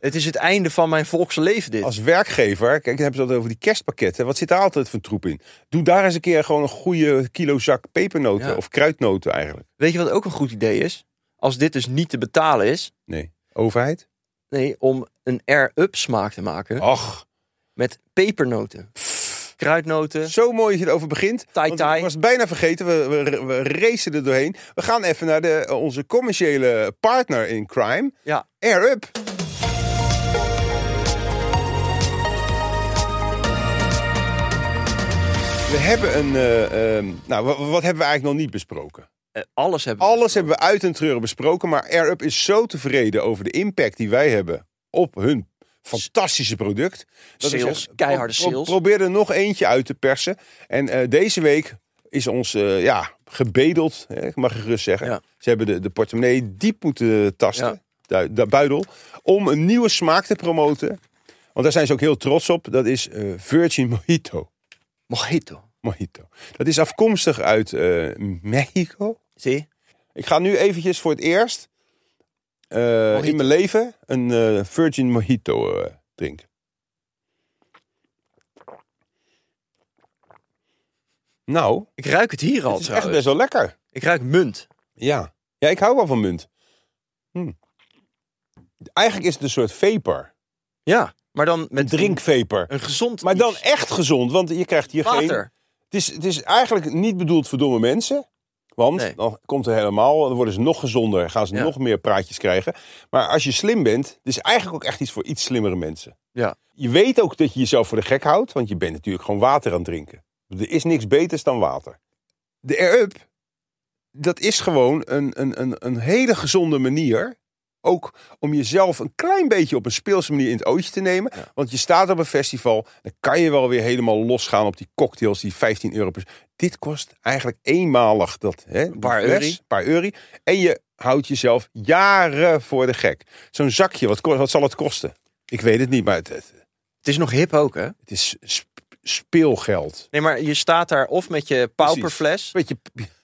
B: Het is het einde van mijn volkse leven dit.
A: Als werkgever, kijk, dan hebben ze het altijd over die kerstpakketten. Wat zit daar altijd voor troep in? Doe daar eens een keer gewoon een goede kilo zak pepernoten
B: Ja.
A: of kruidnoten eigenlijk.
B: Weet je wat ook een goed idee is? Als dit dus niet te betalen is,
A: Nee, overheid?
B: nee, om een air-up smaak te maken
A: Ach,
B: met pepernoten, kruidnoten.
A: zo mooi dat je erover begint.
B: Tai
A: want
B: tai.
A: Ik was het bijna vergeten, we, we, we racen er doorheen. We gaan even naar de, onze commerciële partner in crime,
B: Ja,
A: Air Up. We hebben een. eh, ehm, nou, wa- wat, hebben we eigenlijk nog niet besproken?
B: eh, alles hebben we.
A: Alles hebben we uit en treuren besproken, maar Air Up is zo tevreden over de impact die wij hebben op hun fantastische product. ik
B: Sales,
A: zeg,
B: keiharde sales.
A: probeer er nog eentje uit te persen. En eh, deze week is ons eh, ja, gebedeld, hè, ik mag je gerust zeggen.
B: Ja.
A: Ze hebben de, de portemonnee diep moeten tasten,
B: Ja.
A: du- de buidel, om een nieuwe smaak te promoten. Want daar zijn ze ook heel trots op. Dat is eh, Virgin Mojito.
B: Mojito.
A: Mojito. Dat is afkomstig uit eh, Mexico.
B: Zie?
A: Ik ga nu eventjes voor het eerst eh, in mijn leven een eh, Virgin Mojito eh, drinken. Nou,
B: Ik ruik het hier al.
A: het is echt
B: trouwens.
A: best wel lekker.
B: Ik ruik munt.
A: Ja, ja ik hou wel van munt. Hm. Eigenlijk is het een soort vapor.
B: Ja, maar dan
A: Een
B: met
A: drinkvapor.
B: Een gezond.
A: Maar dan
B: iets.
A: echt gezond, want je krijgt hier geen...
B: water.
A: Het is, het is eigenlijk niet bedoeld voor domme mensen. Want
B: Nee.
A: dan komt er helemaal, dan worden ze nog gezonder, gaan ze
B: Ja.
A: nog meer praatjes krijgen. Maar als je slim bent, dit is eigenlijk ook echt iets voor iets slimmere mensen.
B: Ja.
A: Je weet ook dat je jezelf voor de gek houdt, want je bent natuurlijk gewoon water aan het drinken. Er is niks beters dan water. De air-up, dat is gewoon een, een, een, een hele gezonde manier. Ook om jezelf een klein beetje op een speelse manier in het ootje te nemen. Want je staat op een festival, dan kan je wel weer helemaal losgaan op die cocktails die 15 euro per... Dit kost eigenlijk eenmalig dat. Hè, een
B: paar eurie.
A: paar eurie. En je houdt jezelf jaren voor de gek. Zo'n zakje, wat, ko- wat zal het kosten? Ik weet het niet, maar het, het,
B: Het is nog hip ook, hè?
A: het is sp- speelgeld.
B: Nee, maar je staat daar of met je pauperfles,
A: Weet je,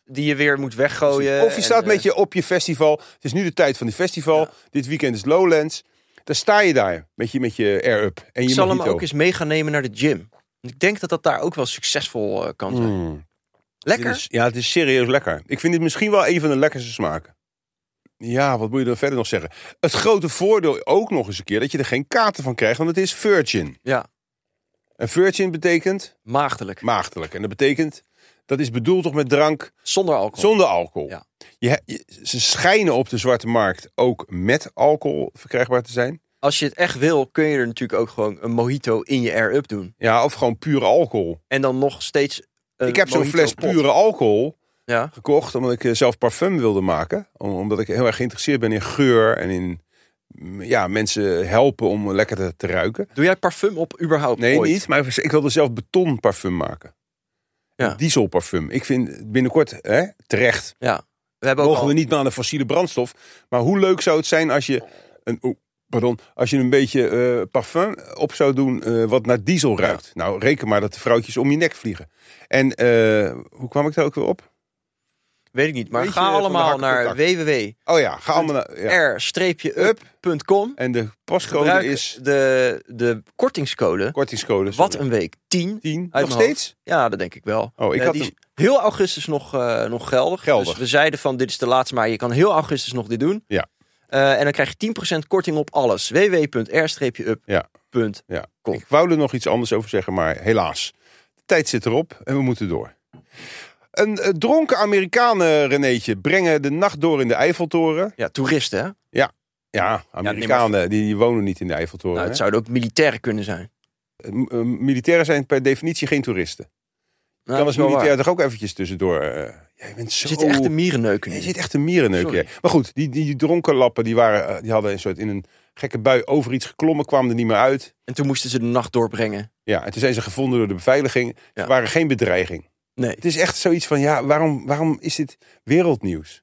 B: die je weer moet weggooien.
A: of je
B: en,
A: staat
B: eh,
A: met je op je festival. Het is nu de tijd van die festival. Dit weekend is Lowlands. Dan sta je daar met je, met je air-up. En je
B: Ik zal hem
A: mojito.
B: ook eens mee gaan nemen naar de gym. Want Ik denk dat dat daar ook wel succesvol eh, kan zijn.
A: Mm.
B: Lekker.
A: Dit is- ja, het is serieus lekker. Ik vind dit misschien wel een van de lekkerste smaken. Ja, wat moet je dan verder nog zeggen? Het grote voordeel ook nog eens een keer dat je er geen katen van krijgt, want het is virgin.
B: Ja,
A: En virgin betekent
B: maagdelijk.
A: maagdelijk. En dat betekent, dat is bedoeld toch met drank
B: Zonder alcohol.
A: zonder alcohol.
B: Ja.
A: Je, he- je- ze schijnen op de zwarte markt ook met alcohol verkrijgbaar te zijn.
B: Als je het echt wil, kun je er natuurlijk ook gewoon een mojito in je air-up doen.
A: Ja, of gewoon pure alcohol.
B: En dan nog steeds. een
A: ik heb zo'n
B: Eh, mojito
A: fles
B: pot.
A: pure alcohol
B: Ja.
A: gekocht omdat ik eh, zelf parfum wilde maken. Om- Omdat ik heel erg geïnteresseerd ben in geur en in mm, ja, mensen helpen om lekker te, te ruiken.
B: Doe jij parfum op überhaupt?
A: Nee,
B: ooit?
A: niet. Maar ik wilde zelf betonparfum maken.
B: Ja.
A: Een Dieselparfum. Ik vind binnenkort hè, terecht.
B: Ja. We hebben ook
A: Mogen
B: al,
A: we niet meer aan de fossiele brandstof. Maar hoe leuk zou het zijn als je een, oeh, pardon, als je een beetje eh, parfum op zou doen eh, wat naar diesel ruikt. Nou, reken maar dat de vrouwtjes om je nek vliegen. En eh, hoe kwam ik daar ook weer op?
B: Weet ik niet. Maar
A: Weet
B: ga
A: je, van
B: allemaal
A: de haak
B: naar
A: op de Oh ja, ga allemaal naar... ja.
B: www.r-up.com.
A: En de postcode
B: Gebruik
A: is
B: de, de kortingscode.
A: kortingscode.
B: Wat
A: sorry.
B: een week. 10.
A: 10.
B: mijn
A: Nog steeds?
B: Ja, dat denk ik wel.
A: Oh, ik
B: Eh,
A: had
B: die is
A: hem.
B: heel augustus nog, eh, nog geldig.
A: Geldig.
B: Dus we zeiden van dit is de laatste, maar je kan heel augustus nog dit doen.
A: Ja.
B: Eh, en dan krijg je 10% korting op alles. www.r-up.
A: Ja. Ja. Ik wou er nog iets anders over zeggen, maar helaas. De tijd zit erop en we moeten door. Een eh, dronken Amerikanen, Renéetje, brengen de nacht door in de Eiffeltoren.
B: Ja, toeristen hè.
A: Ja, Amerikanen, die, die wonen niet in de Eiffeltoren.
B: Nou, het
A: hè?
B: zouden ook militairen kunnen zijn. Nou,
A: M- eh, Militairen zijn per definitie geen toeristen.
B: Nou,
A: kan als
B: dat is wel
A: militair
B: waar.
A: toch ook eventjes tussendoor... eh, jij bent zo...
B: Er zitten echt de mierenneuken
A: Je
B: in.
A: Oh. zit echt een mierenneuk.
B: Sorry.
A: ja. Maar goed, die, die, die dronken lappen die, waren, eh, die hadden een soort in een gekke bui over iets geklommen, kwamen er niet meer uit.
B: En toen moesten ze de nacht doorbrengen.
A: Ja, en toen zijn ze gevonden door de beveiliging. Ze
B: Ja.
A: waren geen bedreiging.
B: Nee,
A: Het is echt zoiets van, ja, waarom, waarom is dit wereldnieuws?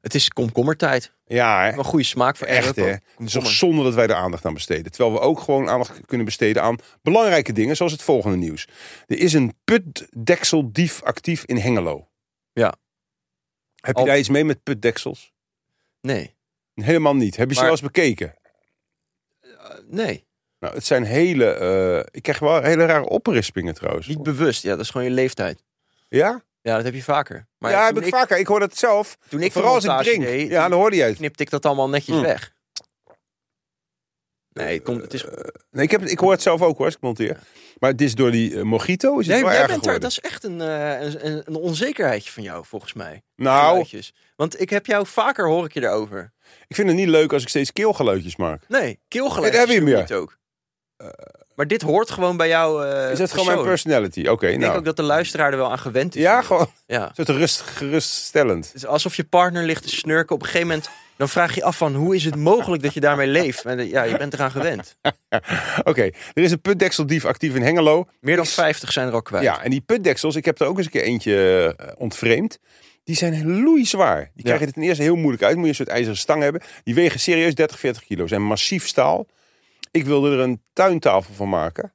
B: het is komkommertijd.
A: Ja, hè?
B: Wel goede smaak voor
A: echt
B: Europa.
A: hè. Het is toch
B: Komkommer.
A: zonde dat wij er aandacht aan besteden. Terwijl we ook gewoon aandacht kunnen besteden aan belangrijke dingen, zoals het volgende nieuws. Er is een putdekseldief actief in Hengelo.
B: Ja.
A: Heb je
B: Al-
A: daar iets mee met putdeksels?
B: Nee,
A: Helemaal niet. Heb je ze
B: Maar-
A: wel eens bekeken?
B: Eh, nee.
A: Nou, het zijn hele, eh, ik krijg wel hele rare oprispingen trouwens.
B: Niet bewust. Ja, dat is gewoon je leeftijd.
A: Ja?
B: Ja, dat heb je vaker. Maar
A: ja,
B: toen
A: heb ik, vaker. Ik hoor dat zelf.
B: Toen ik de
A: Vooral als ik
B: montage
A: drink.
B: deed,
A: ja, dan hoorde je het.
B: knipte ik dat allemaal netjes
A: Hmm.
B: weg. Nee, het, komt, het is... Jij,
A: Nee, ik, heb, Eh, het- ik hoor het zelf ook hoor, als ik monteer. Maar het is door die eh, mojito is het wel
B: jij
A: erger
B: bent daar,
A: geworden.
B: dat is echt een, eh, een, een- een onzekerheidje van jou, volgens mij.
A: nou,
B: Geluidjes. Want ik heb jou vaker, hoor ik je daarover.
A: ik vind het niet leuk als ik steeds keelgeluidjes maak.
B: Nee, keelgeluidjes
A: Dat heb je
B: doe
A: meer.
B: het ook. Maar dit hoort gewoon bij jou eh,
A: Is dat gewoon mijn
B: persoon.
A: personality? Oké,
B: Ik denk
A: nou.
B: ook dat de luisteraar er wel aan gewend is.
A: Ja, gewoon
B: Ja.
A: een soort rust, geruststellend.
B: Het is alsof je partner ligt te snurken. Op een gegeven moment dan vraag je je af van... hoe is het mogelijk dat je daarmee leeft? En, eh, ja, je bent eraan gewend.
A: Oké, er is een putdekseldief actief in Hengelo.
B: Meer dan 50 zijn er al kwijt.
A: Ja, en die putdeksels, ik heb er ook eens een keer eentje eh, ontvreemd. Die zijn loeizwaar. Die krijgen het ten eerste heel moeilijk uit. Moet je een soort ijzeren stang hebben. Die wegen serieus 30, 40 kilo. Zijn massief staal. Ik wilde er een tuintafel van maken.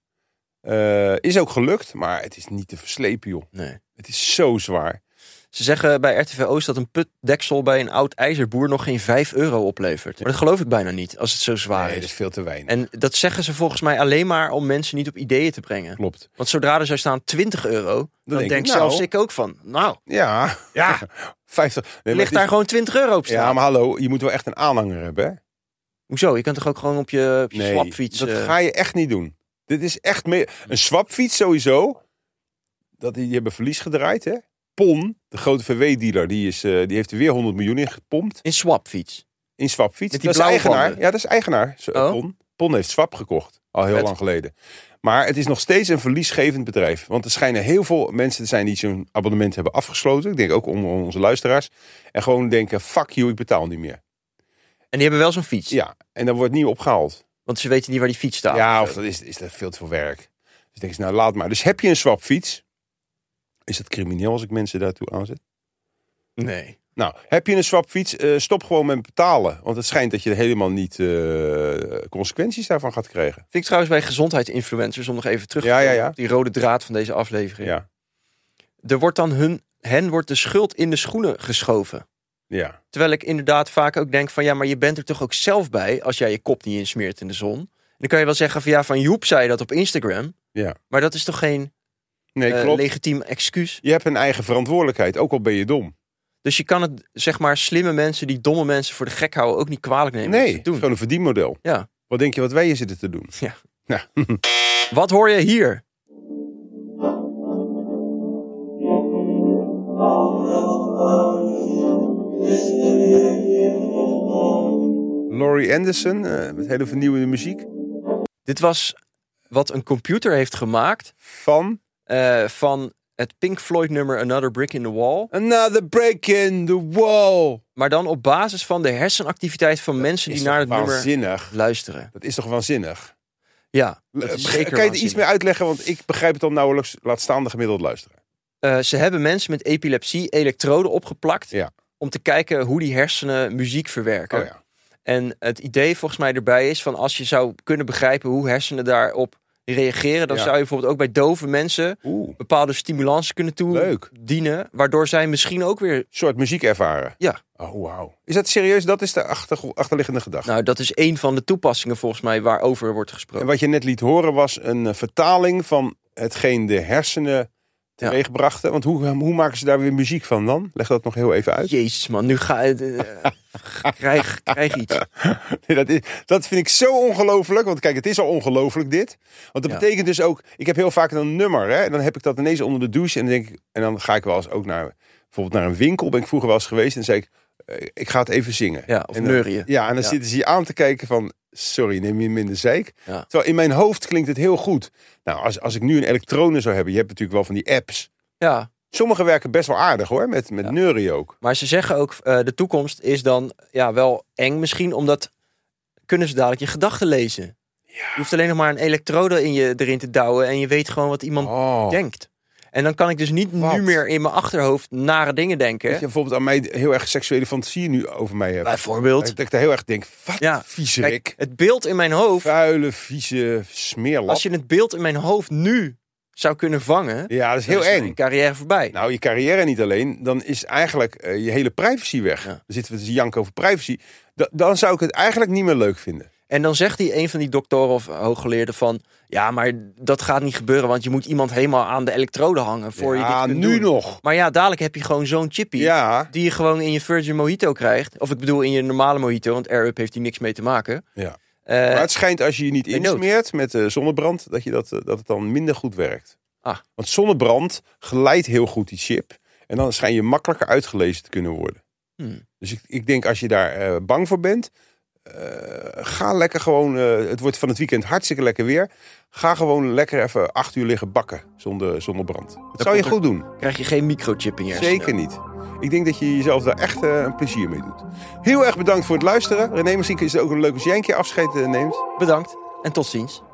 A: Eh, is ook gelukt, maar het is niet te verslepen, joh.
B: Nee.
A: Het is zo zwaar.
B: Ze zeggen bij RTV Oost dat een putdeksel bij een oud ijzerboer nog geen 5 euro oplevert. Maar dat geloof ik bijna niet, als het zo zwaar
A: Nee, dat is
B: Ah, is.
A: veel te weinig.
B: En dat zeggen ze volgens mij alleen maar om mensen niet op ideeën te brengen.
A: Klopt.
B: Want zodra er zou staan 20 euro, dan,
A: denk
B: denk,
A: ik, nou.
B: zelfs ik ook van, nou,
A: Ja. Ja. 50. Nee, maar
B: ligt
A: het is-
B: daar gewoon 20 euro op staan.
A: Ja, maar hallo, je moet wel echt een aanhanger hebben, hè?
B: Hoezo? Je kan toch ook gewoon op je, op je slapfiets...
A: dat
B: eh,
A: ga je echt niet doen. Dit is echt meer... Een swapfiets sowieso. Dat, die die hebben verlies gedraaid, hè? Pon, de grote VW-dealer, die, is, eh, die heeft er weer 100 miljoen in gepompt.
B: In swapfiets.
A: In Swapfiets. Dat
B: Met die
A: is
B: blauwe
A: eigenaar.
B: banden.
A: Ja, dat is eigenaar. zo-
B: Oh.
A: Pon. Pon heeft Swap gekocht. Al heel
B: Vet.
A: lang geleden. Maar het is nog steeds een verliesgevend bedrijf. Want er schijnen heel veel mensen te zijn die zo'n abonnement hebben afgesloten. Ik denk ook onder onze luisteraars. En gewoon denken, fuck you, ik betaal niet meer.
B: En die hebben wel zo'n fiets.
A: Ja, en dan wordt nieuw opgehaald.
B: Want ze weten niet waar die fiets staat.
A: ja,
B: zo.
A: of dat is, is dat veel te veel werk. Dus denk ze, nou laat maar. Dus heb je een swapfiets? Is dat crimineel als ik mensen daartoe aanzet?
B: Nee.
A: Nou, heb je een swapfiets, eh, stop gewoon met betalen. Want het schijnt dat je helemaal niet eh, consequenties daarvan gaat krijgen.
B: Vind ik trouwens bij gezondheidsinfluencers, om nog even terug te
A: Ja, ja,
B: komen
A: ja.
B: op die rode draad van deze aflevering.
A: Ja,
B: Er wordt dan hun, hen wordt de schuld in de schoenen geschoven.
A: ja.
B: Terwijl ik inderdaad vaak ook denk van ja, maar je bent er toch ook zelf bij als jij je kop niet insmeert in de zon. En dan kan je wel zeggen van ja, van Joep zei dat op Instagram.
A: Ja.
B: Maar dat is toch geen
A: Nee,
B: eh,
A: klopt.
B: legitiem excuus.
A: Je hebt een eigen verantwoordelijkheid, ook al ben je dom.
B: Dus je kan het, zeg maar, slimme mensen die domme mensen voor de gek houden ook niet kwalijk nemen. dat
A: nee,
B: ze
A: het
B: het
A: is
B: doen.
A: gewoon een verdienmodel.
B: Ja.
A: Wat denk je wat wij hier zitten te doen?
B: Ja.
A: Nou,
B: Wat hoor je hier?
A: Laurie Anderson, eh, met hele vernieuwende muziek.
B: Dit was wat een computer heeft gemaakt
A: Van
B: eh, van het Pink Floyd nummer Another Brick in the Wall.
A: Another Break in the Wall.
B: Maar dan op basis van de hersenactiviteit van mensen die
A: Is
B: naar
A: toch
B: het nummer
A: waanzinnig?
B: luisteren.
A: Dat is toch waanzinnig?
B: Ja,
A: Eh,
B: dat is
A: beg- kan
B: zeker
A: je er iets
B: waanzinnig.
A: meer uitleggen? Want ik begrijp het al nauwelijks. Laat staan de gemiddeld luisteren.
B: Eh, ze hebben mensen met epilepsie elektroden opgeplakt.
A: Ja.
B: Om te kijken hoe die hersenen muziek verwerken.
A: Oh ja.
B: En het idee volgens mij erbij is van als je zou kunnen begrijpen hoe hersenen daarop reageren, dan
A: Ja.
B: zou je bijvoorbeeld ook bij dove mensen
A: Oeh. Een
B: bepaalde stimulans kunnen
A: Leuk.
B: toedienen, waardoor zij misschien ook weer.
A: soort muziek ervaren.
B: Ja.
A: Oh, wauw. Is dat serieus? Dat is de achter, achterliggende gedachte.
B: Nou, dat is één van de toepassingen volgens mij waarover wordt gesproken.
A: En wat je net liet horen was een eh, vertaling van hetgeen de hersenen teweegbrachten. Want hoe, hoe maken ze daar weer muziek van dan? Leg dat nog heel even uit.
B: Jezus man, nu ga je. eh, krijg, krijg iets.
A: Nee, dat, is, dat vind ik zo ongelooflijk. Want kijk, het is al ongelooflijk dit. Want dat
B: Ja.
A: betekent dus ook... Ik heb heel vaak een nummer. Hè, en dan heb ik dat ineens onder de douche. En dan, denk ik, en dan ga ik wel eens ook naar... Bijvoorbeeld naar een winkel ben ik vroeger wel eens geweest. En dan zei ik, eh, ik ga het even zingen.
B: Ja, of
A: En dan-
B: neurien.
A: Ja, en dan
B: Ja.
A: zitten ze je aan te kijken van... Sorry, neem je minder zeik.
B: Ja.
A: Terwijl in mijn hoofd klinkt het heel goed. Nou, als, als ik nu een elektronen zou hebben... Je hebt natuurlijk wel van die apps.
B: Ja,
A: Sommige werken best wel aardig hoor. Met, met
B: Ja.
A: neurien ook.
B: maar ze zeggen ook eh, de toekomst is dan ja, wel eng misschien, omdat kunnen ze dadelijk je gedachten lezen. Je hoeft alleen nog maar een elektrode in je, erin te douwen en je weet gewoon wat iemand
A: Oh.
B: denkt. En dan kan ik dus niet
A: Wat?
B: nu meer in mijn achterhoofd nare dingen
A: Dat je
B: denken.
A: bijvoorbeeld aan mij heel erg seksuele fantasieën nu over mij hebt.
B: Bijvoorbeeld.
A: Dat ik daar heel erg denk, wat
B: Ja,
A: vieze
B: Kijk,
A: rik.
B: het beeld in mijn hoofd.
A: Vuile, vieze smeerlap.
B: Als je het beeld in mijn hoofd nu zou kunnen vangen.
A: Ja, dat is
B: dan
A: heel
B: mijn
A: eng.
B: carrière voorbij.
A: Nou, je carrière niet alleen. Dan is eigenlijk eh, je hele privacy weg.
B: Ja.
A: Dan zitten we te janken over privacy. Da- dan zou ik het eigenlijk niet meer leuk vinden.
B: En dan zegt die een van die doktoren of hooggeleerden van. Ja, maar dat gaat niet gebeuren, want je moet iemand helemaal aan de elektrode hangen voor je dit
A: ja,
B: kunt
A: nu
B: doen. Eh,
A: nog.
B: Maar ja, dadelijk heb je gewoon zo'n chippie.
A: Ja.
B: Die je gewoon in je Virgin Mojito krijgt. Of ik bedoel in je normale Mojito, want Air Up heeft hier niks mee te maken.
A: ja.
B: Eh,
A: Maar het schijnt als je je niet
B: Benoemd.
A: insmeert met eh, zonnebrand, dat, je dat, eh, dat het dan minder goed werkt.
B: Ah.
A: Want zonnebrand glijdt heel goed die chip. En dan schijn je makkelijker uitgelezen te kunnen worden.
B: Hmm.
A: Dus ik, ik denk als je daar eh, bang voor bent, eh, ga lekker gewoon. eh, het wordt van het weekend hartstikke lekker weer. Ga gewoon lekker even acht uur liggen bakken zonder zonnebrand. Dat zou je
B: komt er-
A: goed doen.
B: krijg je geen microchip in je hersenen.
A: Zeker niet. Ik denk dat je jezelf daar echt eh, een plezier mee doet. Heel erg bedankt voor het luisteren. René, misschien is het ook leuk als jij een keer afscheid eh, neemt.
B: Bedankt en tot ziens.